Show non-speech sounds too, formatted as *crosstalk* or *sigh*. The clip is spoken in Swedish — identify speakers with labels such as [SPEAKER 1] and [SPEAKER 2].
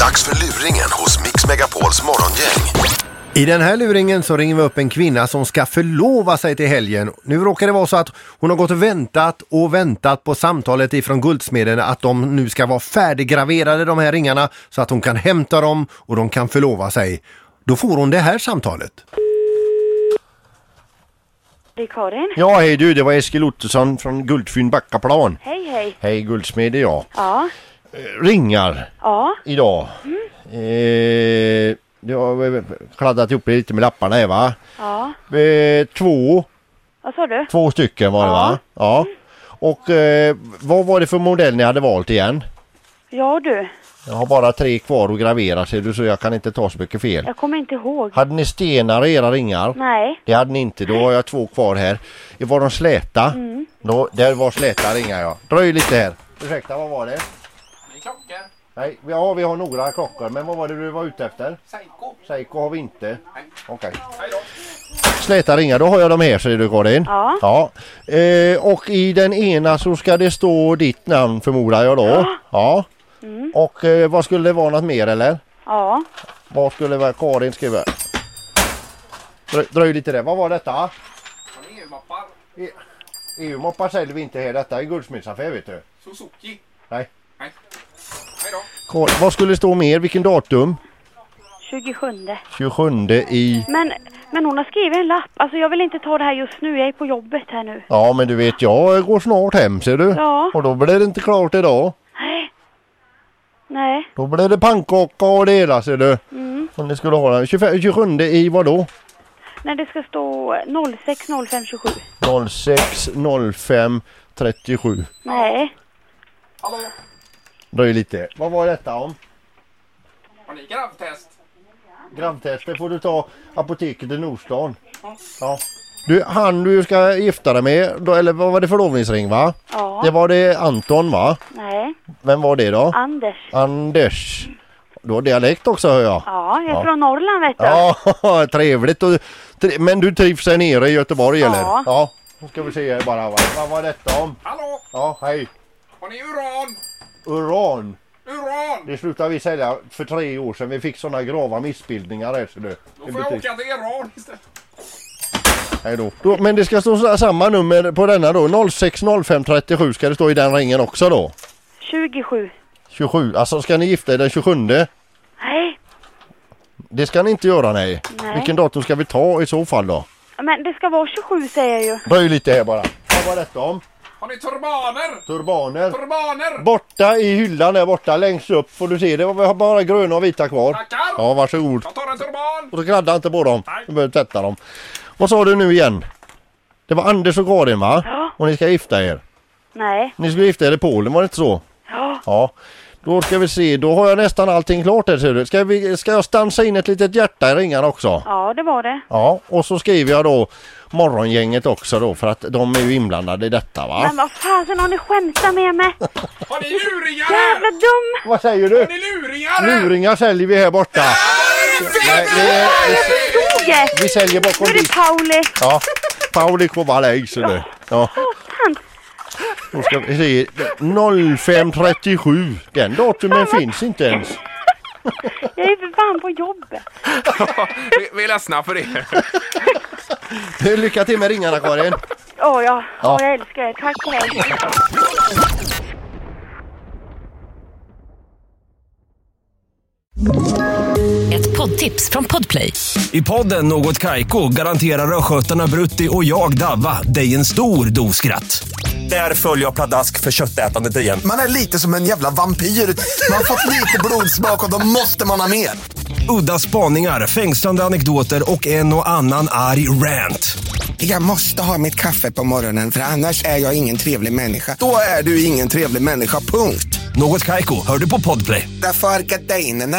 [SPEAKER 1] Dags för luringen hos Mix Megapols morgongäng.
[SPEAKER 2] I den här luringen så ringer vi upp en kvinna som ska förlova sig till helgen. Nu råkar det vara så att hon har gått och väntat och väntat på samtalet ifrån guldsmeden att de nu ska vara färdiggraverade de här ringarna så att hon kan hämta dem och de kan förlova sig. Då får hon det här samtalet.
[SPEAKER 3] Det är Karin.
[SPEAKER 2] Ja, hej du, det var Eskil Ottosson från Guldfynd Backaplan.
[SPEAKER 3] Hej, hej.
[SPEAKER 2] Hej guldsmed, ja.
[SPEAKER 3] Ja,
[SPEAKER 2] Ringar
[SPEAKER 3] ja,
[SPEAKER 2] idag. Eh, du har kladdat ihop det lite med lapparna här va?
[SPEAKER 3] ja.
[SPEAKER 2] Eh, två
[SPEAKER 3] Vad sa du?
[SPEAKER 2] Två stycken var det va? Ja. Och eh, vad var det för modell ni hade valt igen?
[SPEAKER 3] Ja du,
[SPEAKER 2] Jag har bara tre kvar att gravera ser du så jag kan inte ta så mycket fel.
[SPEAKER 3] jag kommer inte ihåg.
[SPEAKER 2] Hade ni stenar i era ringar?
[SPEAKER 3] Nej,
[SPEAKER 2] Det hade ni inte, då har jag två kvar här. Var de släta? Mm. Då, där var släta ringar ja. Dröj lite här. Ursäkta, vad var det?
[SPEAKER 4] Klockan.
[SPEAKER 2] Nej, ja vi har några klockor men vad var det du var ute efter?
[SPEAKER 4] Seiko.
[SPEAKER 2] Seiko har vi inte.
[SPEAKER 4] Nej.
[SPEAKER 2] Okej.
[SPEAKER 4] Hej då.
[SPEAKER 2] Släta ringar, då har jag dem här ser du Karin.
[SPEAKER 3] Ja.
[SPEAKER 2] ja. Eh, och i den ena så ska det stå ditt namn förmodar jag då. Ja. Och eh, vad skulle det vara något mer eller?
[SPEAKER 3] ja.
[SPEAKER 2] Vad skulle det vara? Karin skriva? Dröj, dröj lite där, vad var detta? E
[SPEAKER 4] Har ni EU-mappar?
[SPEAKER 2] EU-moppar säljer vi inte här, detta är guldsmedsaffär vet du.
[SPEAKER 4] Suzuki.
[SPEAKER 2] Nej.
[SPEAKER 4] Nej. Hej då.
[SPEAKER 2] Karin, vad skulle det stå mer? Vilken datum?
[SPEAKER 3] 27.
[SPEAKER 2] 27 i...
[SPEAKER 3] Men, men hon har skrivit en lapp. Alltså jag vill inte ta det här just nu, jag är på jobbet här nu.
[SPEAKER 2] Ja men du vet jag går snart hem ser du.
[SPEAKER 3] Ja.
[SPEAKER 2] Och då blir det inte klart idag.
[SPEAKER 3] Nej. Nej,
[SPEAKER 2] Då blir det pannkaka och det hela ser du. Om ni skulle ha den. 25, 27 i vad då?
[SPEAKER 3] nej det ska stå 060527.
[SPEAKER 2] 06 05 37.
[SPEAKER 3] Nej.
[SPEAKER 4] Hallå.
[SPEAKER 2] Dröj lite. Vad var detta om?
[SPEAKER 4] Har ni gravtest?
[SPEAKER 2] Gravtester får du ta apoteket i Nordstan. Ja. Du, han du ska gifta dig med, då, eller vad var det förlovningsring va?
[SPEAKER 3] Ja.
[SPEAKER 2] Det var det Anton va?
[SPEAKER 3] Nej.
[SPEAKER 2] Vem var det då?
[SPEAKER 3] Anders.
[SPEAKER 2] Anders. Du har dialekt också hör jag.
[SPEAKER 3] Ja, jag är från Norrland vet du.
[SPEAKER 2] Ja, *laughs* trevligt. Och, tre, men du trivs här nere i Göteborg
[SPEAKER 3] Ja.
[SPEAKER 2] eller? Ja. Nu ska vi se här bara. va. Vad var detta om?
[SPEAKER 4] Hallå.
[SPEAKER 2] Ja, hej.
[SPEAKER 4] Har ni uran?
[SPEAKER 2] Uran.
[SPEAKER 4] Uran.
[SPEAKER 2] Det slutade vi sälja för tre år sedan. Vi fick sådana grava missbildningar här ser du.
[SPEAKER 4] Då
[SPEAKER 2] I
[SPEAKER 4] får jag
[SPEAKER 2] butik.
[SPEAKER 4] åka till Iran istället.
[SPEAKER 2] Hej då. då. Men det ska stå så- samma nummer på denna då. 060537 ska det stå i den ringen också då.
[SPEAKER 3] 27.
[SPEAKER 2] 27. Alltså ska ni gifta er den 27?
[SPEAKER 3] Nej.
[SPEAKER 2] Det ska ni inte göra nej.
[SPEAKER 3] Nej.
[SPEAKER 2] Vilken datum ska vi ta i så fall då?
[SPEAKER 3] Men det ska vara 27 säger jag ju.
[SPEAKER 2] Dröj lite här bara. Vad var detta om?
[SPEAKER 4] Har ni turbaner?
[SPEAKER 2] Turbaner.
[SPEAKER 4] Turbaner.
[SPEAKER 2] Borta i hyllan där borta längst upp får du se. Det var vi har bara gröna och vita kvar.
[SPEAKER 4] Tackar.
[SPEAKER 2] Ja varsågod.
[SPEAKER 4] Jag tar en turban.
[SPEAKER 2] Och så kladda inte på dem.
[SPEAKER 4] Nej.
[SPEAKER 2] Du behöver tvätta dem. Vad sa du nu igen? Det var Anders och Karin va?
[SPEAKER 3] Ja.
[SPEAKER 2] Och ni ska gifta er.
[SPEAKER 3] Nej.
[SPEAKER 2] Ni skulle gifta er i Polen var det inte så?
[SPEAKER 3] Ja.
[SPEAKER 2] Ja. Då ska vi se. Då har jag nästan allting klart här ser du. Ska, vi, ska jag stansa in ett litet hjärta i ringarna också?
[SPEAKER 3] Ja, det var det.
[SPEAKER 2] Ja. Och så skriver jag då morgongänget också då för att de är ju inblandade i detta va?
[SPEAKER 3] Men vad fasen har ni skämtat med mig?
[SPEAKER 4] Har ni luringar
[SPEAKER 3] Jävla dum!
[SPEAKER 4] här?
[SPEAKER 2] Vad säger du?
[SPEAKER 4] Har ni luringar här?
[SPEAKER 2] Luringar säljer vi här borta. Nej, det är,
[SPEAKER 3] Toge!
[SPEAKER 2] vi säljer
[SPEAKER 3] Nu
[SPEAKER 2] bakom
[SPEAKER 3] är det
[SPEAKER 2] dit.
[SPEAKER 3] Pauli!
[SPEAKER 2] Ja. Pauli Kovalej ser du. Ja.
[SPEAKER 3] Fan!
[SPEAKER 2] Då ska vi se. 0537. Den datumen finns inte ens.
[SPEAKER 3] Jag är för fan på jobbet!
[SPEAKER 4] Vi, vi är ledsna för det.
[SPEAKER 2] Lycka till med ringarna Karin.
[SPEAKER 3] Åh ja, Åh, jag älskar er. Tack och hej!
[SPEAKER 5] Ett poddtips från Podplay.
[SPEAKER 6] I podden Något Kaiko garanterar östgötarna Brutti och jag, Davva, dig en stor dos skratt. Där följer jag pladask för köttätandet igen.
[SPEAKER 7] Man är lite som en jävla vampyr. Man har fått lite blodsmak och då måste man ha mer.
[SPEAKER 6] Udda spaningar, fängslande anekdoter och en och annan arg rant.
[SPEAKER 7] Jag måste ha mitt kaffe på morgonen för annars är jag ingen trevlig människa. Då är du ingen trevlig människa, punkt.
[SPEAKER 6] Något Kaiko, hör du på Podplay.
[SPEAKER 7] Därför arkadeinerna.